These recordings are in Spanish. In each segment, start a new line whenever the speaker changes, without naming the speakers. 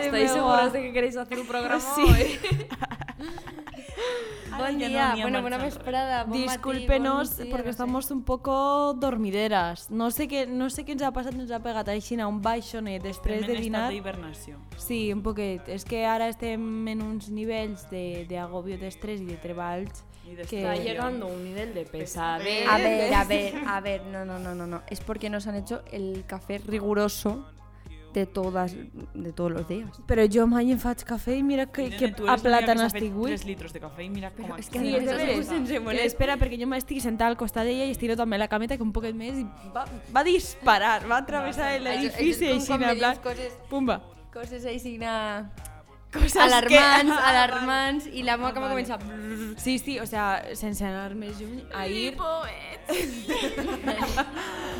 ¿Estáis
me
seguras
va.
de que queréis hacer un programa
Sí.
hoy?
Bon dia, bueno, bona vesprada, bon matí,
Discúlpenos
bon migdia,
perquè
no sé.
estamos un poco dormideras. No sé, què, no sé què ens ha passat, ens ha pegat així un baixonet després de dinar.
Estat d'hivernació.
Sí, un poquet. És que ara estem en uns nivells de- d'agobio, de, d'estrès i de treballs
I d'estrès.
Está
Eh,
que...
llegando un nivel de pesadez.
A ver, a ver, a ver, no, no, no, no, no. Es porque nos han hecho el café riguroso de todas, de todos los días.
Però jo mai em faig cafè i mira que,
Irene,
que
tu eres la única que
aplata
s'ha fet
n'estic avui.
3 litros de cafè i mira com
Però
aquí.
és que
Sí,
Además,
és de
estàs
veres.
sense
Que
molestar.
Espera, perquè jo m'estic sentada al costat d'ella i estiro també la cameta que un poquet més i va, va disparar, va travessar l'edifici
Això- això és
així,
com quan
en
me
plan,
dius coses-
pumba.
Coses així, na...
Coses
Alarmants,
que...
alarmants, i la moca m'ha començat...
Sí, sí, o sea, sense anar més lluny, ahir...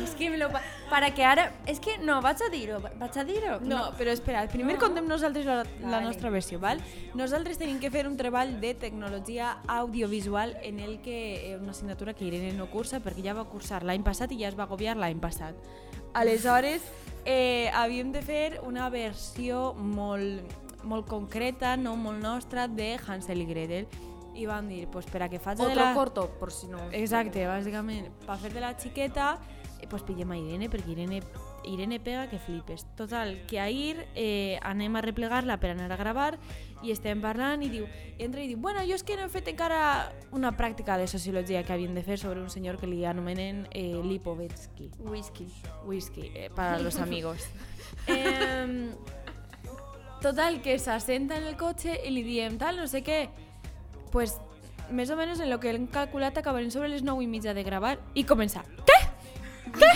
És que me lo... pa- Para que ara... És que no, vaig a dir-ho, va- vaig a dir-ho.
No, però espera, primer contem nosaltres la, la
Vale.
nostra versió, val? Nosaltres tenim que fer un treball de tecnologia audiovisual en el que eh, una assignatura que Irene no cursa perquè ja va cursar l'any passat i ja es va agobiar l'any passat. Aleshores, eh, havíem de fer una versió molt, molt concreta, no molt nostra, de Hansel i Gretel. I vam dir, pues, per a que faig de
Otro
la...
corto, por si no.
Exacte, bàsicament, per fer de la xiqueta, eh, pues pillem a Irene, perquè Irene, Irene pega que flipes. Total, que ahir eh, anem a replegar-la per anar a gravar i estem parlant i diu, entra i diu, bueno, jo és que no he fet encara una pràctica de sociologia que havien de fer sobre un senyor que li anomenen eh, Lipovetsky
Whisky.
whisky eh, para los amigos. Em, total, que se asienta en el coche y le diem tal, no sé qué. Pues més o menos en lo que hem calculat acabarem sobre les 9 i mitja de gravar i començar. Què? Què?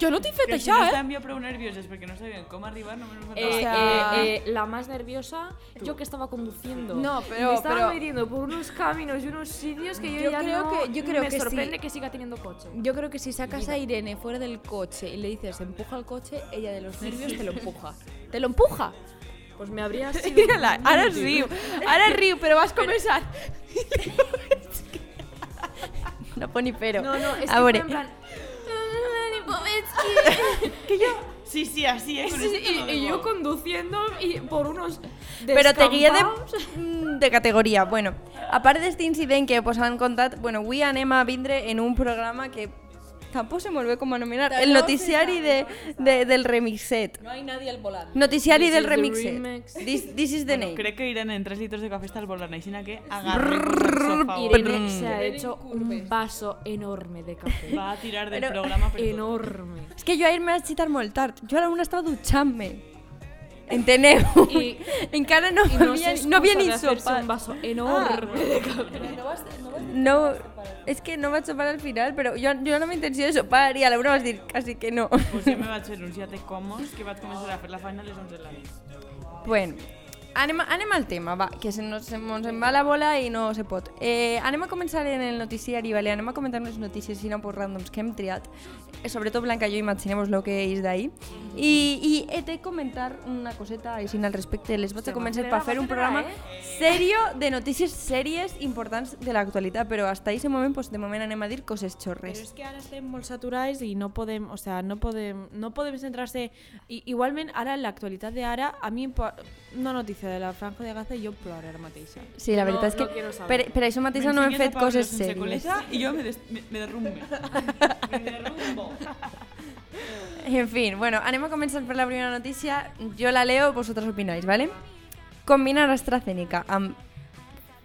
Jo no t'he fet
Que si
això,
no
eh?
estaven jo prou nervioses perquè no sabien com arribar, només ho
Eh,
O
faltava.
sea- ah.
eh, eh, la más nerviosa, yo que estaba conduciendo.
No,
Y
pero-
Me estaba
pero-
metiendo por unos caminos y unos sitios que yo,
Yo
ya
creo
no-
que- yo creo
me
que sí.
sorprende que siga teniendo coche.
Yo creo que si sacas a Irene fuera del coche y le dices empuja el coche, ella de los nervios te lo empuja. ¡Te lo empuja!
Pues me habría sido.
Mírala, ahora riu, ahora riu, pero vas a comenzar.
No poni pero.
No, no, es que
A
fue
veure,
en plan.
Sí, sí, así, eh, con
Sí, sí,
este
y,
tono de
y
voz.
yo conduciendo y por unos.
Però te guia de,
descampados.
mm, de categoria. Bueno, a part d'aquest incident que pues, han contat, bueno, avui anem a vindre en un programa que tampoc sé molt bé com anomenar, el noticiari de, de, del remixet.
No hay nadie al volante.
Noticiari
This
del
is the remix.
remixet. This, this is the name.
Crec que Irene en 3 litros de cafè està al volant, així que agarreu-vos al sofà.
Irene se ha hecho un vaso enorme de café.
Va a tirar del
Però-
programa per tot.
enorme.
És que jo ahir m'he aixetat molt tard. Jo a la una estava dutxant-me. Enteneu?
I-
Encara no,
Y
havia,
se
no havia
excusa
ni Ah,
de hacerse
sopat.
un vaso enorme de café.
No vas, no vas
No, és que no vaig sopar al final, però jo, jo no m'intenció de sopar i a l'una vas dir quasi que no.
Pues jo me vaig fer uns siete comos que vaig començar a fer la feina a les 11 de la nit.
Bueno, anem, anem al tema, va, que se nos, se mos en va la bola i no se pot. Eh, anem a començar en el noticiari, vale? anem a comentar unes notícies i no pues, randoms que hem triat. Eh, Sobretot Blanca, jo imaginemos lo que és d'ahir. I, I he de comentar una coseta així al respecte. Les vaig a començar per
va
fer
acelerar,
un
eh?
programa serio de notícies sèries importants de l'actualitat, però hasta ese moment, pues, de moment anem a dir coses
Pero
xorres.
es que ahora estén molt saturades y no podemos, o sea, no podemos, no podemos centrarse. I, igualment, ara, en la actualidad de ara, a mí una noticia de la Franja de Gaza y yo ploro ara mateixa.
Sí, la
No,
veritat és
no
que
quiero saber.
per, per això mateix no hem
M'ensenyen a
fet
Pablo
coses
sense
sèries.
coleta I jo me, des, me, me derrumbe. me derrumbo.
En fin, bueno, anem a començar per la primera notícia. Jo la leo, vosaltres opinais, ¿vale? Combinar AstraZeneca amb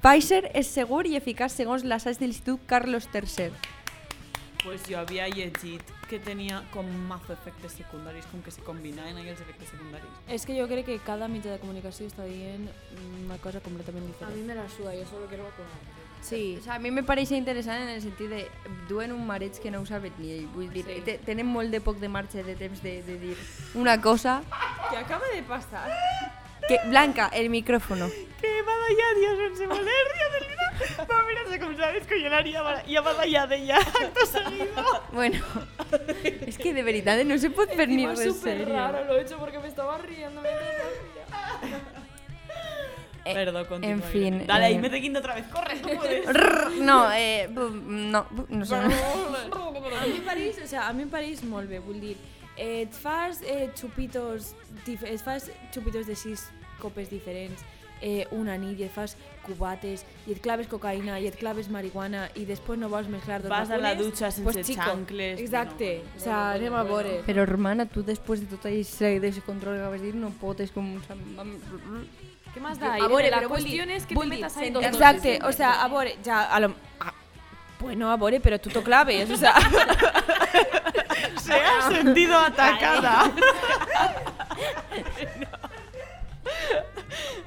Pfizer és segur i eficaç segons l'assaig de l'Institut Carlos III.
Pues jo havia llegit que tenia com mazo efectes secundaris, com que se combinaven ahí els efectes secundaris.
Es que yo creo que cada mitjà de comunicació està dient una cosa completamente
A mí
diferente.
me la suda, yo solo quiero vacunar.
Sí.
O sea, a mi me pareix interessant en el sentit de duen un mareig que no ho saben ni ell. Vull dir,
Sí.
sí. tenen molt de poc de marxa de temps de, de dir una cosa...
¿Qué acaba de pasar?
Que, Blanca, el micrófono.
Que he badallat jo sense voler, dia del vida. Va, mira, se com sabes que jo l'haria i ha badallat ella. Acto seguido.
Bueno, és que de veritat no se pot fer ni
Encima
res
súper
serio.
raro, lo he hecho porque me estaba riendo. mientras hacía.
Eh,
Perdó, continua.
en fin,
Irene. Dale,
eh,
ahí me te otra vez. Corre, no puedes.
Rrr, No, eh, bu- no, bu- no sé.
A mi em pareix, o sea, a mi em pareix molt bé, vull dir, eh, et fas eh, xupitos, dif- et fas xupitos de sis copes diferents eh, una nit i et fas cubates i et claves cocaïna i et claves marihuana i després no vols mesclar dos
Vas a la
vacunes,
dutxa sense
pues, chico,
xancles,
Exacte,
bueno.
o sea, anem a veure.
Però, hermana, tu després de tot això i d'aquest control que vas dir, no potes com...
¿Qué más
Yo-
Ah,
da?
a
Irene?
veure,
la
però vull
cuestión
dir-
es que te
vull dir,
metas ahí
sent-
dos
Entonces,
Exacte, o sea, a veure, ja, a lo... ah, bueno, a veure, però tu t'ho claves, o sea...
Se ha sentido atacada.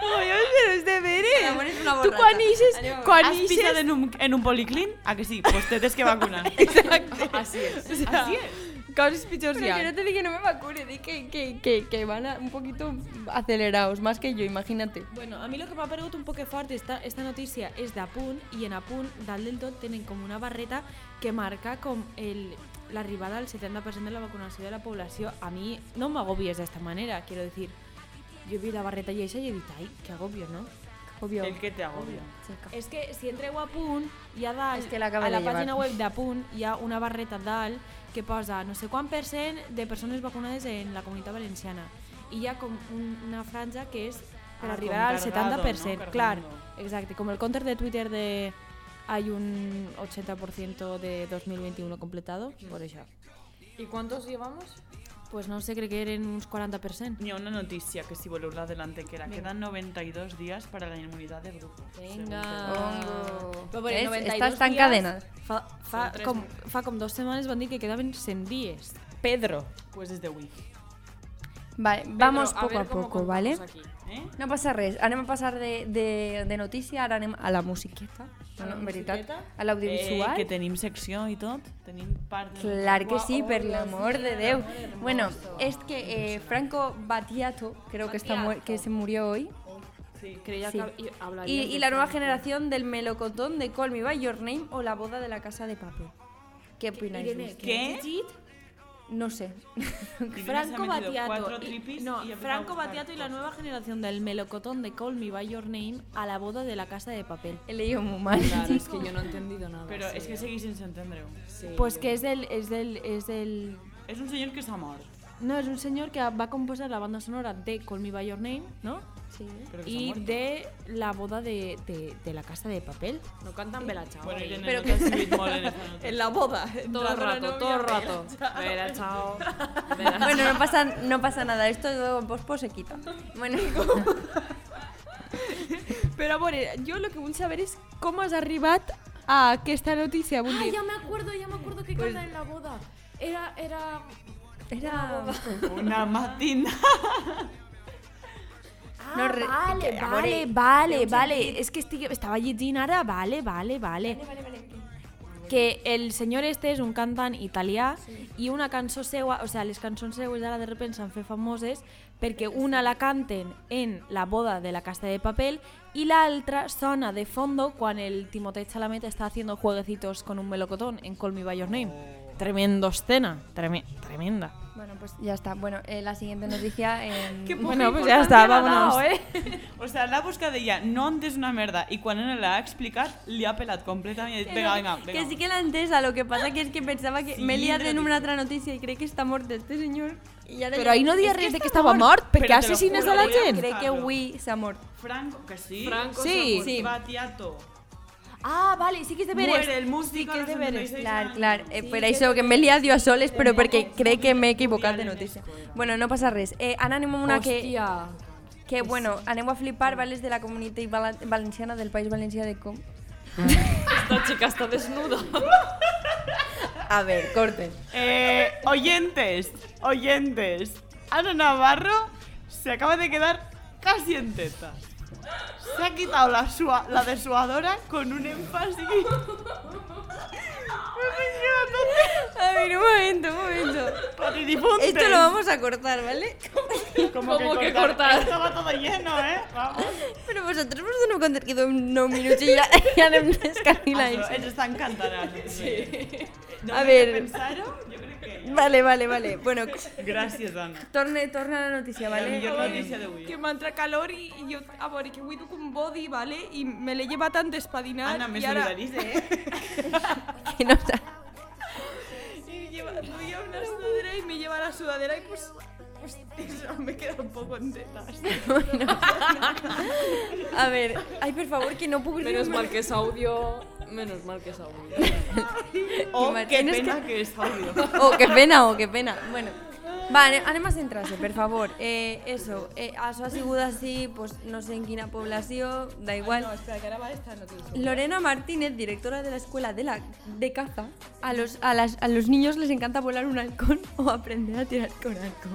Ai, però és de veres.
Ramon és una
Tu
borrata.
quan ixes,
Anem a-
quan
¿Has pisado
ixes...
en un, en un policlín? ¿A que sí? Pues te tienes que vacunar.
Exacte.
Así es.
O sea,
Así
Coses pitjors
Pero
hi ha.
yo no te dije que no me vacune, di que, que, que, que van a- un poquito acelerados, más que yo, imagínate.
Bueno, a mi el que m'ha paregut un poc fort esta, esta notícia és d'Apunt i en Apunt, dalt del tot, tenen com una barreta que marca com el l'arribada al 70% de la vacunació de la població. A mi no m'agobies d'esta manera, quiero decir. Jo vi la barreta i això i he dit, ai, que agobio, no?
Obvio.
El que te agobia.
És que si entreu a Punt, hi ha dalt,
És que l'acaba
a la
de llevar.
pàgina web de Punt, hi ha una barreta dalt que posa no sé quant per cent de persones vacunades en la comunitat valenciana. I hi ha com un, una franja que és per
Ah,
arribar
com
al
cargado,
70%.
no?
Clar,
Cargando.
exacte, com el counter de Twitter de hay un 80% de 2021 completado, por això.
¿Y cuántos llevamos?
Pues no sé, crec que eren uns 40%.
Ni a una noticia que si volvemos adelante, que era quedan 92 días para la inmunidad de grupo.
Vinga.
Hongo.
Però, bueno, 92
Ves, estàs tan
dies-
cadena.
Fa, fa,
Són tres
com,
mesos.
fa com dues setmanes van dir que quedaven 100 dies.
Pedro. Pues desde Wii.
Vale, vamos poco a, poco, ¿vale?
¿Eh?
No passa res, anem a passar de, de, de notícia, ara anem a la musiqueta, no, en veritat, a
Eh,
l'audiovisual.
que tenim secció i tot. Tenim part de...
Clar que sí, per l'amor de Déu. Bueno, es que eh, Franco Battiato, creo que, está mu- que se murió hoy,
Sí.
Creía
Sí.
que hab-
y,
hablarías
y
de
la nueva
Franco.
generación del melocotón de Call Me By Your Name o La Boda de la Casa de Papel. ¿Qué opináis? de
Irene,
esto?
¿Qué?
¿qué? has dit?
No sé.
Irene se ha
Franco
metido cuatro
Battiato. y-
tripis
No,
y ha empezado
Franco
a buscar
Battiato y la nueva generación del melocotón de Call Me By Your Name a la boda de la casa de papel.
He leído muy mal.
Claro, es que yo no he entendido nada.
Però
Ah,
sí.
és que seguís sense entendre-ho.
Sí,
Pues
yo-
que es del, es del, es del...
És un senyor que s'ha mort.
No, es un señor que va a componer la banda sonora de Call Me By Your Name, ¿no?
Sí.
Però que s'ha
Y
mort.
de la boda de, de, de la casa de papel.
No cantan Bella Chao.
Bueno,
ahí.
Irene,
Però
no
que-
t'has subit molt en esta nota.
la boda.
todo el rato, todo el rato. Bella Chao. Bella Chao.
Bueno, no pasa, no pasa nada, esto luego en pospo se quita. Bueno,
Pero bueno, yo lo que voy a saber es cómo has arribat a esta noticia. vull
Ah,
dir.
ya me acuerdo, ya me acuerdo que cantan en la boda. Era, era...
era...
Una matina.
Ah,
No, re-
vale,
que- a
vale,
veure,
vale, vale.
Es que estic- estaba llegint ara, vale, vale, vale. Que el senyor este és un cantant italià i una cançó seua, o sea, les cançons seues ara de repente s'han fet famoses perquè una la canten en la boda de la Casa de Papel i l'altra sona de fondo quan el Timothée Chalamet està haciendo jueguecitos con un melocotón en Call Me By Your Name. Tremendo escena, treme- tremenda.
Bueno, pues ya está. Bueno, eh, la siguiente noticia... em,
Qué
Bueno, pues
importancia
ya está,
le ha dado,
vámonos.
¿eh?
O sea, l'ha buscat ella, no entes una merda, i quan ella l'ha explicat, li ha pelat completament i ha dit, vinga, vinga, vinga.
Que sí que la entesa, lo que pasa que es que pensaba que
Sí,
me lias en
noticia.
una otra noticia y cree que está muerto este señor. Y ahora
Però
ya-
ahí no dies
Es que
res de
está
que estava mort, perquè
Però te lo
assassines
juro,
a la
voy a
gent.
Cree que
Claro.
Wii se ha muerto.
Franco, que sí.
Franco
Sí.
se-
Sí.
Batiato.
Ah, vale, sí que es de veres.
Muere el músico
Sí que
a
es
los
de veres.
76
Claro,
años.
claro. Eh, pero eso que me lias dio a soles, pero porque cree que me he equivocado de noticia. Bueno, no pasa res. Eh, han animado una que...
Hostia.
Que bueno, anem a flipar, ¿vale? Es de la comunidad val- valenciana del País Valencia de Com.
Esta chica está desnuda.
A ver, corten.
Eh, oyentes, oyentes. Ana Navarro se acaba de quedar casi en tetas. Se ha quitado la, sua- la desuadora con un énfasis.
A ver, un momento, un momento.
Patidifuntes.
Esto lo vamos a cortar, ¿vale?
Como
¿Cómo que cortar?
Estaba todo lleno, ¿eh? Vamos.
Pero vosotros vos no contar que no minuts i ja, ja anem descarrilant.
Ah,
Eso, ellos están cantando. Sí.
A ver.
Pensaron? Yo creo que ya.
Vale, vale, vale. Bueno,
Gracias, Ana.
torne, torna a la notícia,
La millor
vale?
notícia d'avui.
que m'entra calor i, i jo, a veure, que vull dur un body, vale? I me l'he llevat tant d'espadinar
Ana, me
i ara...
solidaritza, eh?
Que no sa-
I lleva, duia una sudadera i me lleva la sudadera i pues... pues
Eso me queda un poco en tetas.
A ver, ay, por favor, que no puc
Menos
riure.
mal que es audio. Menos mal que es audio.
Oh, qué
T'imagines
pena que... es audio.
Oh, qué pena, oh, qué pena. Bueno, va, anem, anem a centrar-se, per favor. Eh, eso, eh, això ha sigut així, pues, no sé en quina població, da igual.
No, espera, que ahora va esta noticia.
Lorena Martínez, directora de la escuela de, la, de caza, a los, a, las- a los niños les encanta volar un halcón o aprender a tirar con arco.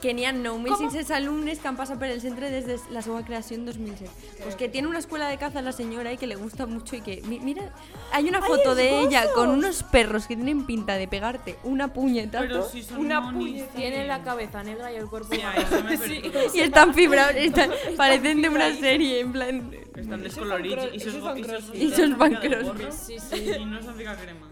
Que n'hi ha 9.500 alumnes que han passat per el centre des de la seva creació en 2007. Pues que tiene una escuela de caza la señora y que le gusta mucho y que... mi- mira, hay una foto de ella con unos perros que tienen pinta de pegarte una puñetazo
Pero si son
Una
monis,
puñe tiene la cabeza negra y el cuerpo
Sí, ahí
marrón.
se me
Sí.
y están fibrados, están- parecen de una serie, en plan...
Están descoloridos
cro-
y
esos
sos
son
y sos-
crosby.
Y sos
sos
Van
pica de
Crosby.
gorro.
Sí, sí.
Y no son pica crema.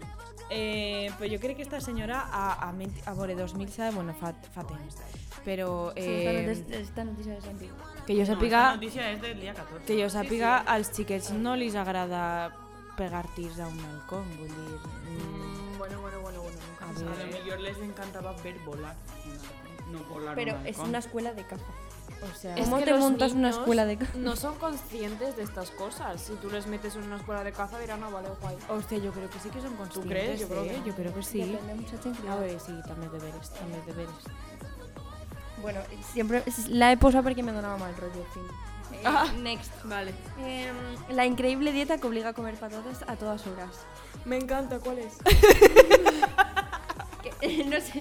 Eh, pues yo creo que esta señora a, a, ment- a vore 2000 sabe, bueno, fa, fa temps. Però eh,
Esta noticia es antigua.
que jo
No,
sàpiga,
esta noticia es del día 14.
que jo sàpiga, als xiquets no li agrada pegar tirs a un halcón, vull dir... mm,
Mm, Bueno, bueno, bueno, bueno. nunca
A
se
A
sabe.
lo mejor les encantaba ver volar. No volar.
Pero
un
es
halcón.
una escuela de caza. O sea,
Es
¿cómo
que
te
los
montas una
niños
escuela de caza?
No son conscientes de estas cosas. Si tú les metes en una escuela de caza dirán, ah, vale, guay.
Hòstia, jo crec que sí que són conscients.
crees? Jo
Jo
creo
crec,
que
eh?
no.
jo crec que sí.
Depende mucho este de quién
A
cría.
veure, sí, també és deberes, també és deberes.
Bueno, siempre es- la he posado porque me donaba mal rollo. Fin. Eh, Next.
Vale.
Em, la increíble dieta que obliga a comer patatas a todas horas.
Me encanta, ¿cuál es?
Que- eh, no sé.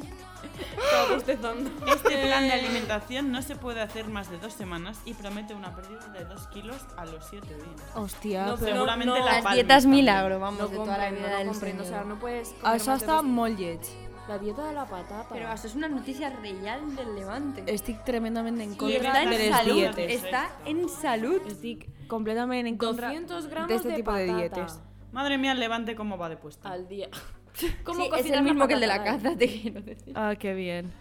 Estaba bostezando.
Este plan de alimentación no se puede hacer más de dos semanas y promete una pérdida de 2 kilos a los 7 días.
Hòstia,
No,
no, però...
no,
seguramente
no,
la
Las
palma
dietas
también.
milagro, vamos,
No
de toda la
comprendo,
vida del
no comprendo. O sea,
señor.
no puedes comer
Això
más de
està
dos-
molt lleig.
La dieta de la patata.
Pero eso es una noticia real del Levante.
Estic tremendament en
Y
contra
está
de
en
les
salud.
dietes.
Está en salud.
Estic completament en contra
200 gramos
de este
de
tipo de
patata.
dietes.
Madre mía, levante cómo va de puesto.
Al día.
Sí, es
cocinar
el mismo
una
que el de la
patata?
caza, te quiero decir.
Ah, qué bien.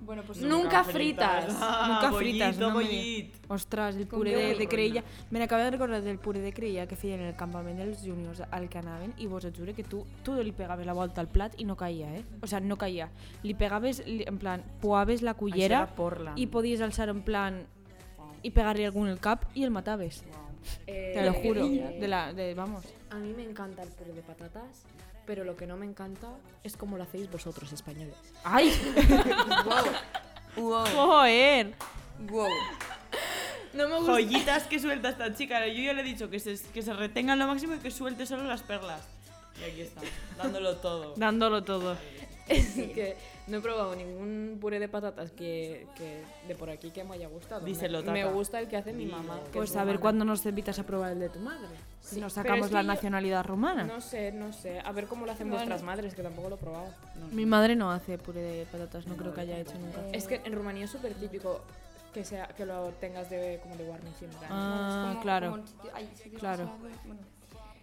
Bueno, pues
Nunca fritas.
Nunca fritas,
Ah, bollito,
no me-
bollit.
Ostres, el puré
Con
de,
yogur.
de creïlla. Me n'acabo de recordar del puré de creïlla que feien en el campament dels juniors al que anaven i vos et jure que tu, tu li pegaves la volta al plat i no caia, eh? O sea, no caia. Li pegaves, li, en plan, poaves la cullera
era Portland.
i podies alçar en plan i pegar-li algú en el cap i el mataves.
Eh,
Te lo juro. De la, de, vamos.
A mí me encanta el puré de patatas, pero lo que no me encanta es como lo hacéis vosotros, españoles.
Ai!
Wow.
Joder!
Wow.
No me
Joyitas que suelta esta chica. Yo ya le he dicho que se, que se retengan lo máximo y que suelte solo las perlas. Y aquí está, dándolo todo.
Dándolo todo.
que no he probado ningún puré de patatas que, que de por aquí que me haya gustado.
Díselo,
me, me
tata.
gusta el que hace mi mamá. que
Pues
es
a ver
rumana.
cuándo nos invitas a probar el de tu madre. Si
Sí,
nos
pero
sacamos
es que
la
yo-
nacionalidad rumana.
No sé, no sé. A ver cómo lo hacen vuestras madres, que tampoco lo he probado.
Mi madre no hace puré de patatas, no creo que haya hecho nunca.
Es que en Rumanía es súper típico que, sea, que lo tengas de, como de guarnición. en plan.
Ah,
Es como-
claro.
como el sitio- ay, sí que
Claro.
no sabe, bueno.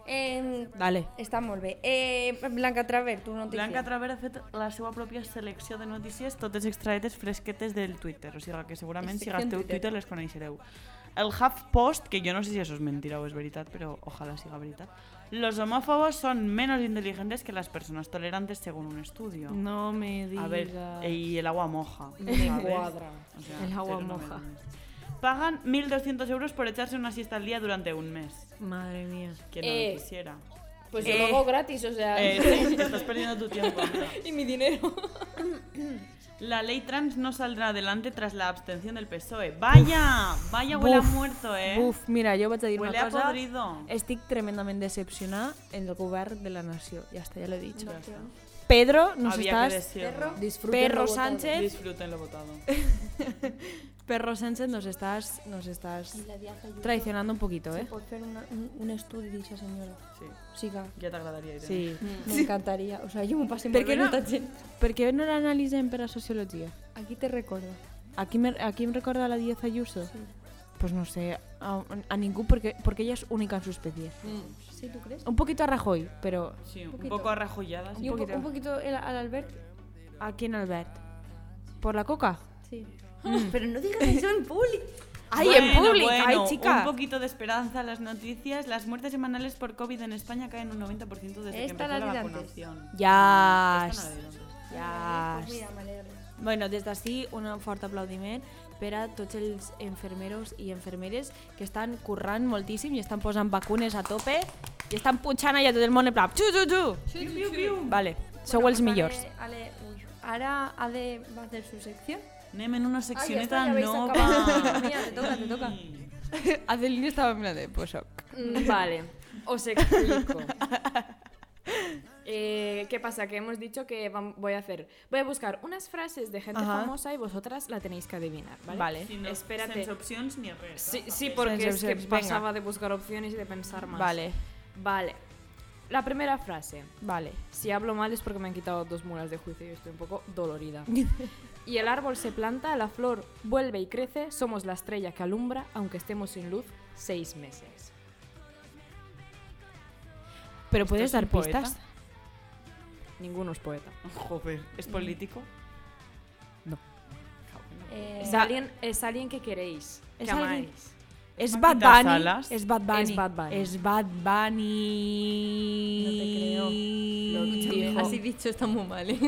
Em,
Dale.
Està molt bé. Eh, Blanca Traver, tu notícia.
Blanca Travera ha fet la seva pròpia selecció de notícies, totes extraetes fresquetes del Twitter, o sigui que segurament si
Secció
gasteu
Twitter.
Twitter. les coneixereu. El HuffPost, que jo no sé si això és mentira o és veritat, però ojalà siga veritat, los homófobos son menos inteligentes que las personas tolerantes según un estudio.
No me digas.
A ver, y el agua moja.
Me
¿sabes?
cuadra.
O sea,
El agua
cero no
moja.
me digas. Pagan 1.200 euros por echarse una siesta al día durante un mes.
Madre mía.
Que no
Eh.
lo quisiera.
Pues
Eh.
yo lo hago gratis, o sea.
Eh, sí, te estás perdiendo tu tiempo. amiga.
y mi dinero.
La ley trans no saldrá adelante tras la abstención del PSOE. E. Vaya, vaya huele
Buf,
a muerto, eh.
Buf, mira, yo voy a dir
huele
una
a
cosa.
podrido.
Estoy tremendamente decepcionada en el gobierno de la nación. Ya está, ya lo he dicho.
Ya está.
Pedro, nos
Había que
estás.
decirlo.
Disfruten
Perro
lo votado.
Sánchez.
Disfrútenlo votado.
Perro Sánchez, nos estás, nos estás traicionando un poquito, ¿eh?
Pot fer una, un, un estudi d'aquesta senyora.
Sí,
O sigui,
ya te agradaría. Irene.
Sí.
m'encantaria. O sigui, jo m'ho passo
Per
molt
què
bé
Mm. no-
no? gent.
¿Por qué no la analicen para sociología?
Aquí te recordo.
Aquí me, aquí me recuerda a la 10 Ayuso. Pues no sé, a, a ningún, porque, porque ella es única en su especie.
Mm,
Sí, tu creus?
Un poquito a Rajoy, pero
sí, un
poquito.
poco arrajolladas.
I un, po
poquito.
un poquito el, a l'Albert.
aquí en Albert. ¿Por la coca?
Sí.
Mm.
Pero Ah, no digas eso en público.
¡Ay, en
Bueno,
público!
bueno,
¡Ay, chica!
Un poquito de esperanza en las noticias. Las muertes semanales por COVID en España caen un 90% desde
Esta
que
la
empezó la
vi antes.
vacunación.
Ya.
Esta no la vi antes.
Ya.
Pues mira, m'alegro.
Bueno, des d'ací un fort aplaudiment per a tots els enfermeros i enfermeres que estan currant moltíssim i estan posant vacunes a tope i estan punxant allà tot el món en pla... Xu, xu, xu. Vale, sou els millors.
Ale, ui, ara ha de... Va a hacer su sección.
Anem en una seccioneta
ja veus,
nova.
acaba. Mira, te toca, te toca.
Adeline estava mirant de... Pues soc.
Mm, Vale, os explico. Eh, ¿Qué pasa? Que hemos dicho que vam- voy a hacer. Voy a buscar unas frases de gente
Ajá.
famosa y vosotras la tenéis que adivinar, ¿vale?
Vale.
Si no,
Espérate.
Sense opcions ni res.
Sí, sí, porque
Sense
es que
opciones, venga.
pasaba de buscar opciones y de pensar más.
Vale,
Vale. La primera frase.
vale.
Si hablo mal es porque me han quitado dos mulas de juicio y estoy un poco dolorida. y el árbol se planta, la flor vuelve y crece, somos la estrella que alumbra, aunque estemos sin luz, seis meses.
Però podes
Esto es
dar
un poeta.
pistas?
Ninguno es poeta.
Joder, ¿es político?
Eh,
Es alguien, es alguien que queréis,
Es
que
alguien-
amáis.
És
Paquita
Bad Bunny.
Salas.
És Bad Bunny.
És Bad Bunny.
És Bad Bunny.
No te
No
Lo dijo.
Así dicho está muy mal. ¿eh?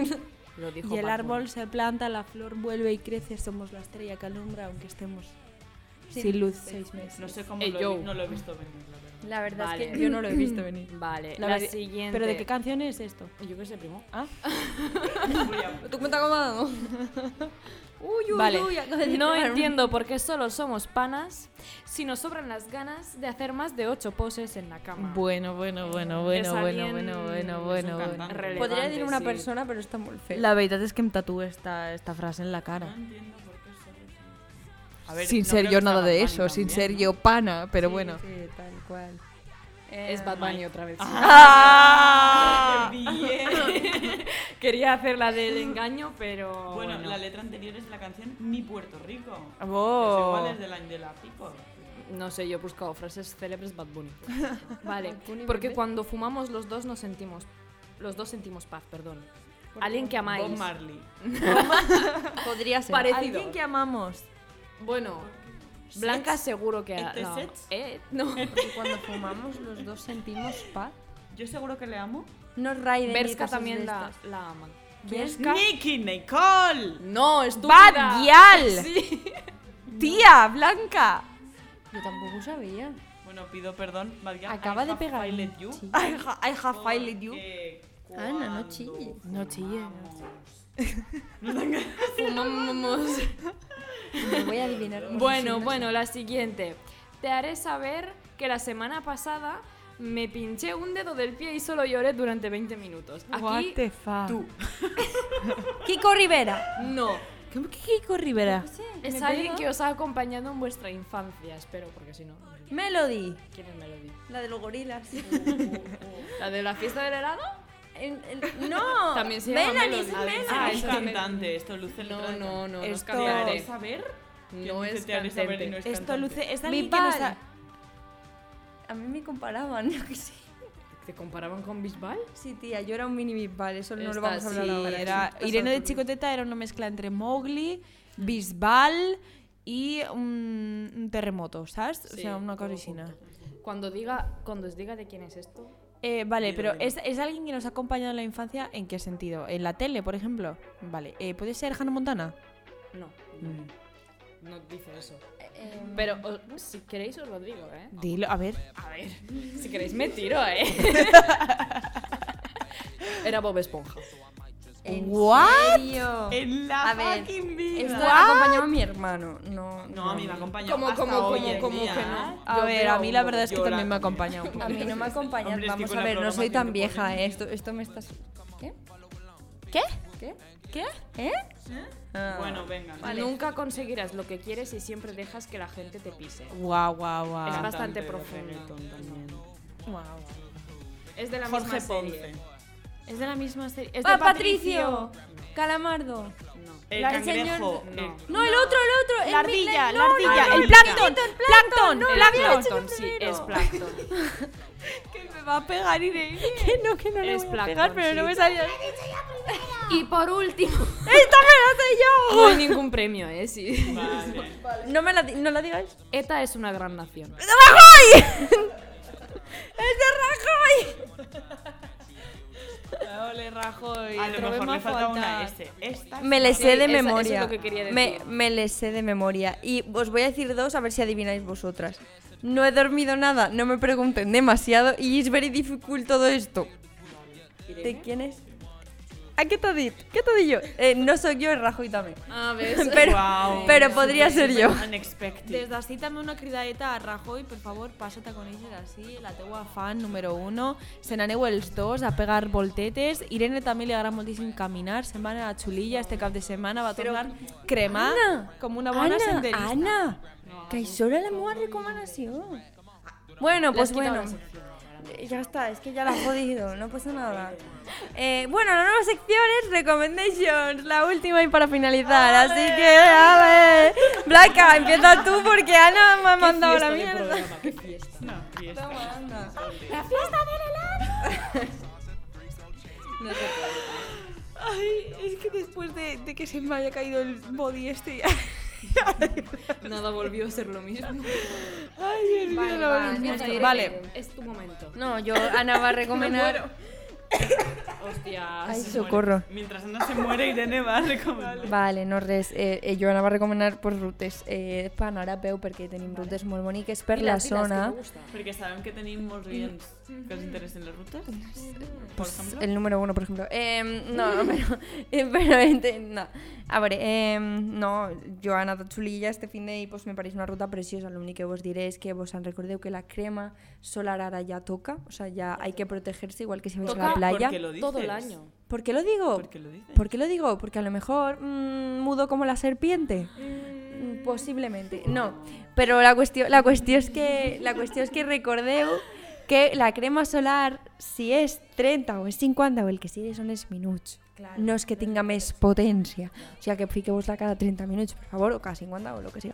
Lo dijo
Y el
Bad
árbol
Bunny.
se planta, la flor vuelve y crece, somos la estrella que alumbra aunque estemos sin,
Sin
luz seis meses.
No sé cómo
Ey,
lo,
yo.
he, no lo he visto venir, la verdad.
La verdad es
Vale.
que yo no lo he visto venir.
Vale,
La
la,
verdad-
siguiente.
¿Pero de qué canción es esto?
Yo qué sé, primo.
¿Tú cuenta cómo ha dado? Uy, uy,
Vale.
uy, acabo de
No
llegar.
entiendo por qué solo somos panas si nos sobran las ganas de hacer más de ocho poses en la cama.
Bueno, bueno, bueno,
Es alguien-
un cantante.
Relevante,
Podría decir una
sí.
persona, pero está muy feo.
La veritat és que em tatuo esta, esta frase en la cara.
entiendo por qué solo... A ver,
sin
no
ser
creo
yo
que
nada
sea
de
Bad
eso,
Bunny
sin
también,
ser
¿no?
yo pana, pero bueno.
Sí, tal cual.
Pues
Eh,
Es Bad Bunny otra vez.
¡Ah! Bien.
Quería hacer la del engaño, pero.
Bueno,
bueno.
la letra anterior es la canción Mi Puerto Rico.
Oh.
Es igual es de la, de la People.
No sé, yo he buscado frases célebres Bad Bunny. vale, porque cuando fumamos los dos nos sentimos. Los dos sentimos paz, perdón. Alguien que amáis.
Bob Marley.
Podría ser.
Parecido.
Alguien que amamos.
Bueno, Blanca seguro que.
¿Este
no.
sets?
Eh, no.
Porque cuando fumamos los dos sentimos paz.
Yo seguro que le amo.
No Raiden. ni
Berska
cosas de
también la,
estas.
la aman.
¿Quién?
Nicky Nicole.
No, estúpida.
Bad Gyal. Tía, Blanca.
Yo tampoco sabía.
Bueno, pido perdón. Bad Gyal,
Acaba
I
de
have
pegar.
failed you.
Sí.
I, ha- I have failed you.
Porque
Ana, no
cuando
chilles.
No chilles.
fumamos-
Fumamos.
Me voy a adivinar. como
Bueno,
si no
bueno, la siguiente. Te haré saber que la semana pasada me pinché un dedo del pie y solo lloré durante 20 minutos. Aquí
fuck?
tú.
sé. Kiko Rivera.
no.
¿Qué, qué Kiko Rivera?
Ah,
Es alguien que os ha acompañado en vuestra infancia, espero, porque si no, no sé
Melody.
quién es Melody.
La de los gorilas.
¿La de la fiesta del helado?
En- en- no.
También se llama
Melanie,
Melody.
sí,
Ah,
Melanie.
Ah,
Ah, es
esta
cantante. Esto luce el
No,
trato.
no, no,
Esto-
no os
¿Te haré
cambiaré.
saber?
No
¿Quién dice
es
te haré saber y no
cantante.
es
Esto
cantante?
luce... Es
Mi
alguien que no
padre.
sa-
A mí me comparaban. yo qué sé.
¿Te comparaban con Bisbal?
Sí, tía, yo era un mini Bisbal. Eso no
Esta
lo vamos a hablar
sí,
ahora.
Era,
Eso pasa
Irene de
otro día.
Chicoteta era una mezcla entre Mowgli, Bisbal y un, un terremoto, ¿sabes? o
Sí,
sea, una
todo
cosa así, ¿no?
Cuando diga, cuando os diga de quién es esto.
Eh, vale,
Dilo,
pero
dilo.
¿es, es alguien que nos ha acompañado en la infancia? ¿En qué sentido? ¿En la tele, por ejemplo? Vale, eh, ¿puede ser Hannah Montana?
No, no dice eso.
Eh,
Pero o- si queréis os lo digo, ¿eh?
Dilo, a ver.
A ver, si queréis me tiro, ¿eh? Era Bob Esponja.
¿En
¿What?
serio?
En la
A ver,
fucking
Esto
vida.
me acompañaba a mi hermano. No,
No, a mí me acompañó
Como,
hasta
como,
hoy
como,
en
como
día. ¿eh?
que no.
A
Yo
ver,
veo
a mí la
un
verdad es que
Yo la
también me ha
acompañé.
acompañado un
A
poco.
mí no me acompañan.
Hombre, es que
Vamos
con
a
la
ver, no soy tan
programación
vieja, ¿eh? Esto, esto me estás. ¿Qué?
¿Qué?
¿Qué?
¿Qué?
¿Eh? Ah.
¿Eh? Bueno, venga.
Vale.
Nunca conseguirás lo que quieres si siempre dejas que la gente te pise.
Guau, guau, guau.
Es
Cantante
bastante
de
profundo.
reggaetón también.
Guau, guau.
Es de la
Jorge
misma serie.
Ponce.
Es de la misma serie. Es de
¡Ah,
Patricio.
Patricio! Calamardo.
No.
El
La- el
cangrejo. eh,
señor-
No.
No, el otro, el otro. el
La ardilla, la
Midnight- no,
ardilla,
no, no,
el
no,
plancton, plancton,
El
plancton.
Plankton, sí, es Plankton.
Me va a pegar Irene. Que no, que no le
Es
voy a
plancton,
pegar, pero no
sí.
me salía.
Y por último,
¡Esta me la sé
no hay ningún premio, ¿eh? Sí.
Vale.
No me la, di- no la digáis.
ETA es una gran nación.
yo! ¡Es de Rajoy! Ole, Rajoy.
A lo
trobem
mejor
a
le falta una
faltar.
S. Esta
Me les sé
Sí,
de
esa- eso es
memoria.
lo que quería
Me,
decir.
me les sé de memoria. Y os voy a decir dos a ver si adivináis vosotras. No he dormido nada, no me pregunten demasiado y es very difficult todo esto. ¿De quién es? ¿A qué te dit? ¿Qué te di yo? Eh, no soy yo, es Rajoy también.
A ver,
Pero,
Guau.
pero podría ser yo.
Des
Unexpected.
d'ací també una cridaeta a Rajoy, per favor, passa-te a conèixer ací, la teua fan número 1. Se n'aneu els dos a pegar voltetes. Irene també li agrada moltíssim caminar, se'n va anar a Xulilla este cap de setmana, va tornar cremar com una bona senderista.
Ana, que això era la meva recomanación. Bueno, pues bueno. Eh, Ya está, es que ya la has jodido, no pasa nada. Eh, bueno, la nueva sección es Recommendations, la última y para finalizar, así que a ver. Blanca, empieza tú porque Ana me ha mandado la mierda.
No, y esta.
Ay, es que después de, de que se me haya caído el body este...
nada volvió a ser lo mismo.
Ay, Dios mío, la
vale,
vergüenza.
vale.
Vale.
Es tu momento.
No, yo, Ana va a recomendar.
Hostias.
Ay, socorro.
Mientras Ana se muere, Irene va a recomendar.
Vale, no res. Eh, eh, jo anava a recomanar pues, rutes eh, per anar a peu perquè tenim rutes molt boniques per la zona.
Porque saben que tenéis
Mm.
molts oients que os interesen les rutes. Por ejemplo.
Pues El número uno, por ejemplo. Eh, no, no, pero, eh, pero ente- no. A ver, eh, no, jo he anat a Xulilla este fin de i pues, me pareix una ruta preciosa. L'únic que vos diré és que vos en recordeu que la crema solar ara ja toca, o sea, ya hay que protegerse igual que si vais a
Toca
la playa.
Porque lo dices.
Todo el año.
¿Por qué lo digo?
Porque lo dices.
¿Por qué lo digo? Porque a lo mejor mm, mudo como la serpiente. Mm, Posiblemente. No. Pero la cuestión, la cuestión es que la cuestión es que recordeu que la crema solar, si és 30 o és 50 o el que sigui, són els minuts. No és que tinga més potència. O sigui, que fiqueu-vos-la cada 30 minuts, per favor, o cada 50 o el que sigui.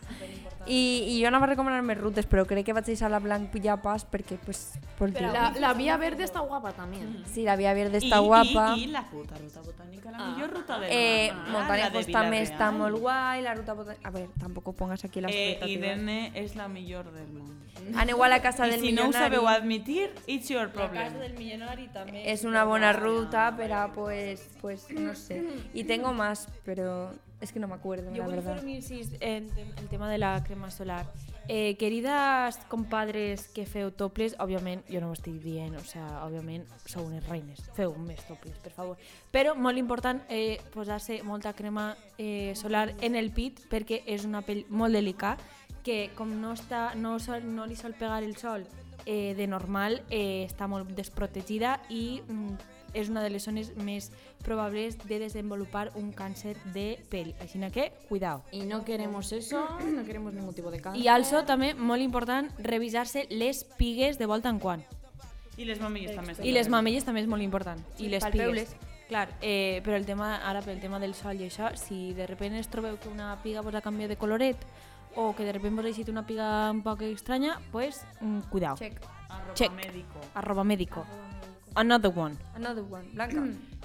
I, I jo anava a recomanar més rutes, però crec que vaig deixar la blanc ja pas perquè, pues, por dir.
La, la vía verde está guapa también.
Sí, la via verde
Y-
està
y-
guapa. Ah.
Y, la puta ruta botánica, la mejor ruta de
Eh,
Ah, la
Montanejos también está muy guay, la ruta botan- A ver, tampoco pongas aquí las
Eh,
expectativas.
Irene es la mejor del mundo.
Han igual a casa
Y
del
si no
millonario.
sabeu admitir, it's your problem.
es una buena ruta, pero pues, pues no sé. Y tengo más, pero es que no me acuerdo,
Yo
la
voy a
verdad.
hacer mi insis en tem- el tema de la crema solar. Eh, queridas compadres que feu toples, òbviament, jo no ho estic dient, o sea, òbviament sou unes reines, feu més toples, per favor. Però molt important eh, posar-se molta crema eh, solar en el pit perquè és una pell molt delicada que com no, està, no, sol, no li sol pegar el sol eh, de normal eh, està molt desprotegida i mm, és una de les zones més probables de desenvolupar un càncer de pell. Així que, cuidao.
Y no queremos eso, no queremos ningún tipo de cáncer.
I also, també, molt important, revisar-se les pigues de volta en quan.
Y les mamillas también.
I les mamelles també és molt important. I les
pels
pigues.
peules.
Clar, eh, però el tema, ara pel tema del sol i això, si de repente es trobeu que una piga vos ha canviat de coloret o que de repente vos ha eixit una piga un poc estranya, pues, mm, cuidao.
Check.
Arroba
Check.
médico.
Arroba médico. Another one.
Another one. Blanca.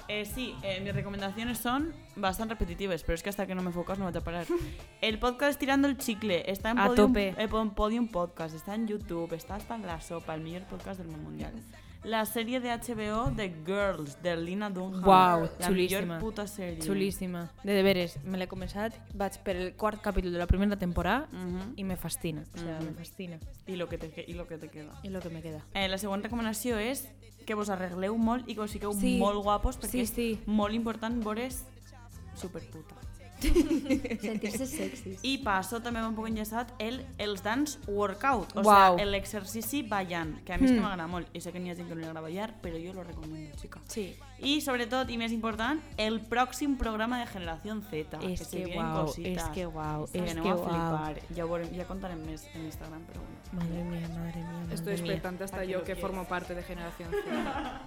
Eh, sí, eh, mis recomendaciones son bastante repetitivas, pero es que hasta que no me enfocas no voy a parar. El podcast Tirando el Chicle está en
A
Podium,
tope.
eh, en Podium Podcast, está en YouTube, está hasta en La Sopa, el mejor podcast del mundo mundial. La serie de HBO de Girls, de Lina Dunham.
Guau,
la
chulísima.
millor puta serie.
Xulíssima. De deberes, me l'he començat, vaig per el quart capítol de la primera temporada
Ujú.
i me fascina. O sea,
Mhm.
me fascina.
Y lo que te, que- y lo que te queda.
Mm. És lo que me queda.
Eh, la següent recomanació és que vos arregleu molt i que us fiqueu
Sí.
molt guapos perquè
Sí,
és
sí.
molt important veure's superputa.
Sentirse sexy.
I per això també m'han poc enllaçat el, els dance workout, o
Uau.
sigui, l'exercici ballant, que a mi és
Hmm.
que m'agrada molt, i sé que n'hi ha gent que no li agrada ballar, però jo lo recomano, xica.
Sí.
I sobretot, i més important, el pròxim programa de Generació Z,
És
que, se
que
vienen
guau,
cositas.
és que guau,
Se
és
aneu
que
a
guau.
flipar. Ja, ho veurem, ja contarem més en Instagram, però bueno.
Madre mía, madre mía, madre
Estoy
mía.
expectante hasta yo que formo parte de generación Z.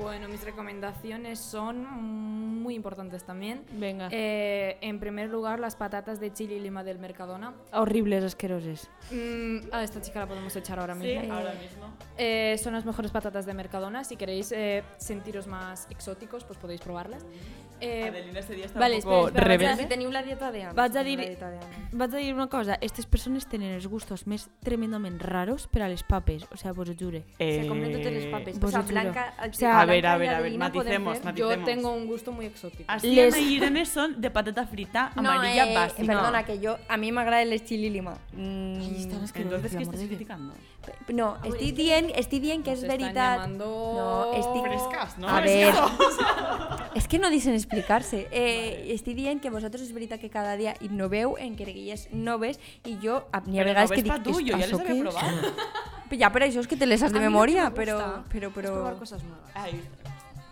Bueno, mis recomendaciones son mm, muy importantes también.
Venga.
Eh, en primer lugar, las patatas de chile y lima del Mercadona.
Horribles, asqueroses.
Mm, a esta chica la podemos echar ahora
Sí,
mismo.
ahora mismo.
Eh, son las mejores patatas de Mercadona. Si queréis eh, sentiros más exóticos, pues podéis probarlas. Eh,
Adelina ese día está
vale,
un poco
espera, espera,
rebelde.
Si teniu la dieta de Anna.
Vaig a
si teniu
dir-
la dieta de Anna.
Vaig a dir una cosa, aquestes persones tenen els gustos més tremendament raros per a les papes, o sea, vos ho jure.
Eh,
Se compren totes les papes.
Vos
O
pues
sea,
ho juro.
Blanca,
O sea,
Blanca
a ver, a
i
ver, a ver,
Adelina poden
maticemos,
fer-
maticemos.
yo tengo un gusto muy exótico.
Asiana
Les-
y Irene son de patata frita
No,
amarilla
eh,
básica.
Perdona, que yo, a mí me agrada el chili lima. Mm,
Entonces, ¿qué estás criticando?
Ah,
no, estoy bien, estoy bien que es
Nos están
veritat.
llamando
No, estic-
Frescas, ¿no?
A ver, es que no dicen explicarse. Eh, Estoy bien que vosotros es veritat que cada día innoveu en creguilles noves y jo a, ni a
Pero
vegades
no
que
ves pa
dic,
tu, jo ja les
"Això
havia
què és?"
provat.
Però Ja, per això és que te les has de
A mí lo que
memoria,
me
pero,
gusta
pero,
es probar
pero,
cosas nuevas.
Ay,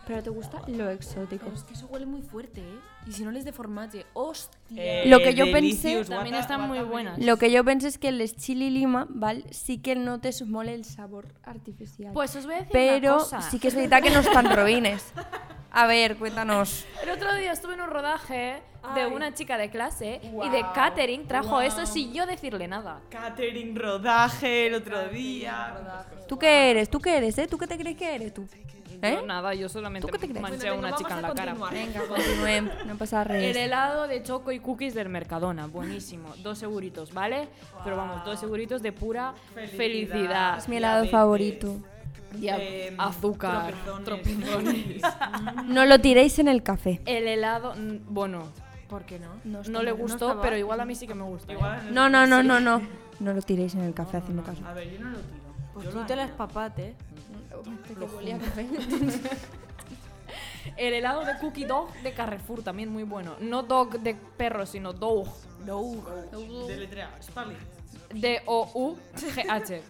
pero te gusta lo exótico.
que eso huele muy fuerte, ¿eh? Y si no les de formatge, hostia.
eh,
Lo que yo
delicious,
pensé-
También
guata-
están muy
guata-
buenas.
Lo que yo pensé es que el chili lima, ¿vale? Sí que no te mole el sabor artificial.
Pues os voy a decir una
pero
cosa.
sí que es verdad que no están robines. A ver, cuéntanos.
El otro día estuve en un rodaje de una chica de clase y de catering trajo eso sin yo decirle nada.
Catering, rodaje, el otro día.
¿Tú qué eres? ¿Tú qué eres? ¿Eh? ¿Tú qué te crees que eres tú? ¿Eh?
Yo nada, yo solamente
¿Tú qué te crees?
manché a una chica en la cara.
Venga, continúen. No pasa
El
res.
helado de choco y cookies del Mercadona, buenísimo. Dos seguritos, ¿vale? Pero vamos, dos seguritos de pura felicidad.
Es mi helado favorito.
Y a-
Em,
azúcar,
tropezones.
tropezones.
No lo tiréis en el café.
El helado, mm, bueno,
¿Por qué no?
No,
no le gustó, pero igual a mí sí que me gusta. ¿eh?
Igual-
No, no, no, no, no. No lo tiréis en el café, hacedme caso.
A ver, yo no lo tiro.
Pues
Yo
tú
lo
te las
haría.
papate.
El helado de cookie dog de Carrefour también muy bueno. No dog de perro, sino dog.
Deletrea, Spali.
Pues
D-O-U-G-H.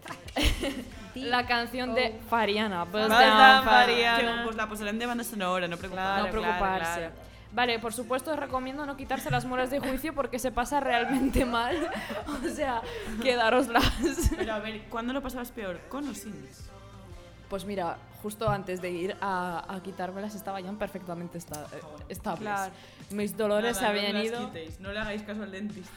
La canción de
Oh.
Fariana. Pues Buzz
Basta,
down,
María.
Fariana.
Que, Pues la posarán de banda sonora, no preocuparse.
No preocuparse. Vale, por supuesto os recomiendo no quitarse las muelas de juicio porque se pasa realmente mal. O sea, quedároslas.
Pero a ver, ¿cuándo lo pasabas peor? ¿Con o sin?
Pues mira, justo antes de ir a, a quitármelas estaban ya perfectamente esta- eh, estables.
Claro.
Mis dolores se
Nada,
habían
pues, no las
ido.
quitéis, no le hagáis caso al dentista.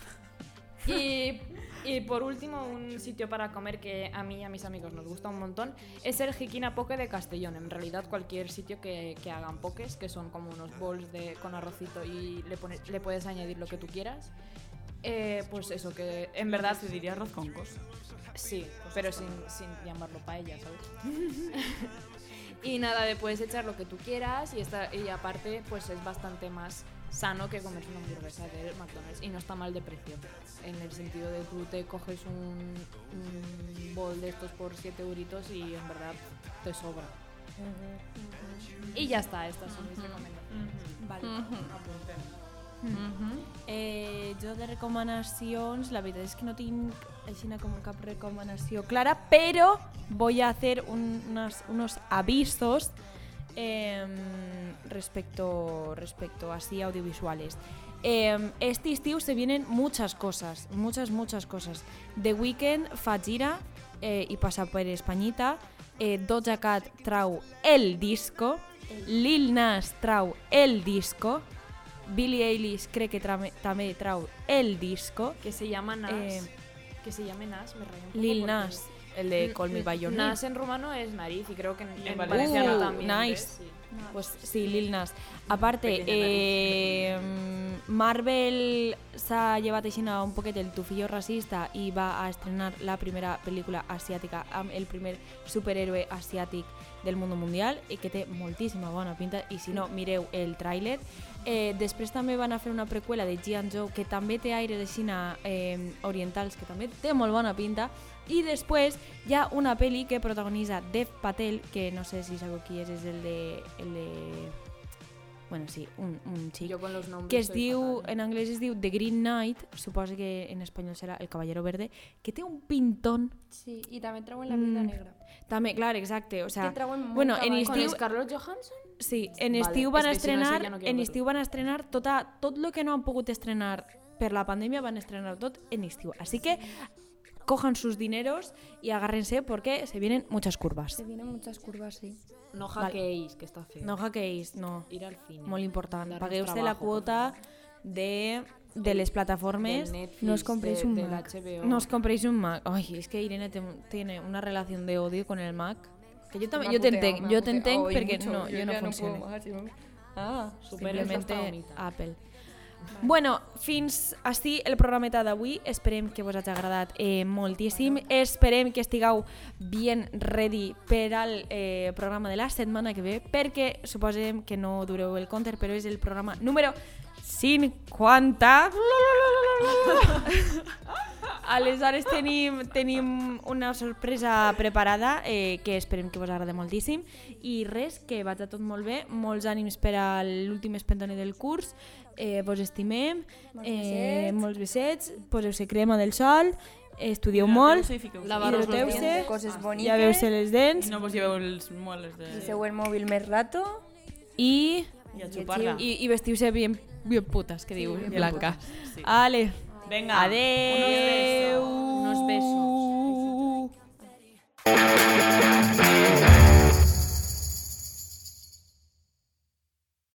Y, y por último, un sitio para comer que a mí y a mis amigos nos gusta un montón es el Jiquina Poke de Castellón. En realidad, cualquier sitio que, que hagan pokés, que son como unos bowls de, con arrocito y le, pones- le puedes añadir lo que tú quieras. Eh, pues eso, que en verdad
se diría arroz con cosas.
Sí, pero sin, sin llamarlo paella, ¿sabes? y nada, le puedes echar lo que tú quieras y, esta, y aparte pues es bastante más sano que comerse una hamburguesa de McDonald's y no está mal de precio. En el sentido de tú te coges un, un bol de estos por 7 euritos y en verdad te sobra. Y ya está, estas son mis recomendaciones.
Vale. Eh, jo de recomanacions, la veritat és que no tinc aixina com cap recomanació clara, però voy a hacer un, unas, unos avisos eh, respecto, respecto así audiovisuales. Eh, este estiu se vienen muchas cosas, muchas, muchas cosas. The Weeknd fa gira eh, i passa per Espanyita, eh, Doja Cat trau el disco, Lil Nas trau el disco, Billie Eilish cree que trame- també trau el disco.
Que se llama Nas.
Eh,
que se llame Nas, me raya un poco
Lil
porque-
Nas, el de Call Me By Your Name.
Nas en rumano es nariz y creo que en, en
valenciano.
valenciano
Uh,
también.
nice.
¿ves? Sí.
Pues sí, Lil Nas. Aparte,
Pequeña
eh, Marvel s'ha llevat així un poquet el tufillo racista i va a estrenar la primera pel·lícula asiàtica amb el primer superhéroe asiàtic del món mundial i que té moltíssima bona pinta i si no, mireu el tràiler. Eh, després també van a fer una preqüela de G.I. Joe que també té aires així eh, orientals que també té molt bona pinta i després hi ha una pel·li que protagonitza Dev Patel, que no sé si sabeu qui és, és el de... El de... Bueno, sí, un, un xic.
Yo con los nombres.
que es
soy
diu,
fatal.
en anglès es diu The Green Knight, suposa que en espanyol serà El Caballero Verde, que té un pintón.
Sí, y también trago en
la vida negra. També, clar, exacte, o sea,
que trauen molt
bueno, en
caball.
¿Con
estiu,
Scarlett Johansson?
sí, en
Vale,
estiu
és
van
que si no, això
estrenar,
ja no quiero
en
verlo.
estiu van estrenar tota, tot lo que no han pogut estrenar per la pandèmia van estrenar tot en estiu. Així que cojan sus dineros y agárrense porque se vienen muchas curvas.
Se vienen muchas curvas, sí.
No hackeéis, que está feo.
No hackeéis, no.
Ir al cine.
Molt important.
Darnos
Pagueu usted la
trabajo,
quota de, de les
Del
plataformes.
Netflix,
no os compréis
de-
un
del
Mac.
HBO.
No os compréis un Mac. Ay, es que Irene tem- tiene una relación de odio con el Mac. Que yo
Me
también,
ha
yo te
puteado,
entenc,
me ha
yo te
puteado
entenc
hoy
porque
mucho.
no, yo no
ya
funcione.
puedo más, yo- Ah,
Supera
Simplement
aquesta humita.
Apple. Bueno, fins ací el programeta d'avui. Esperem que vos hagi agradat eh, moltíssim. Esperem que estigueu ben ready per al eh, programa de la setmana que ve, perquè suposem que no dureu el counter, però és el programa número 50. Aleshores tenim, tenim una sorpresa preparada eh, que esperem que vos agradi moltíssim i res, que vaig a tot molt bé molts ànims per a l'últim espentone del curs eh, vos estimem
Molts
eh,
besets.
molts besets poseu-se crema del sol estudieu molt
Lavaros los
hidroteu-se,
dientes.
cosas boniques.
llaveu-se les dents
eh? No vos lleveu els moles de...
Useu el móvil más rato.
i,
I a xupar-la.
i, i vestiu-se bien, bien putes que diu
bien
Blanca
putes, sí.
Ale,
Vinga.
adeu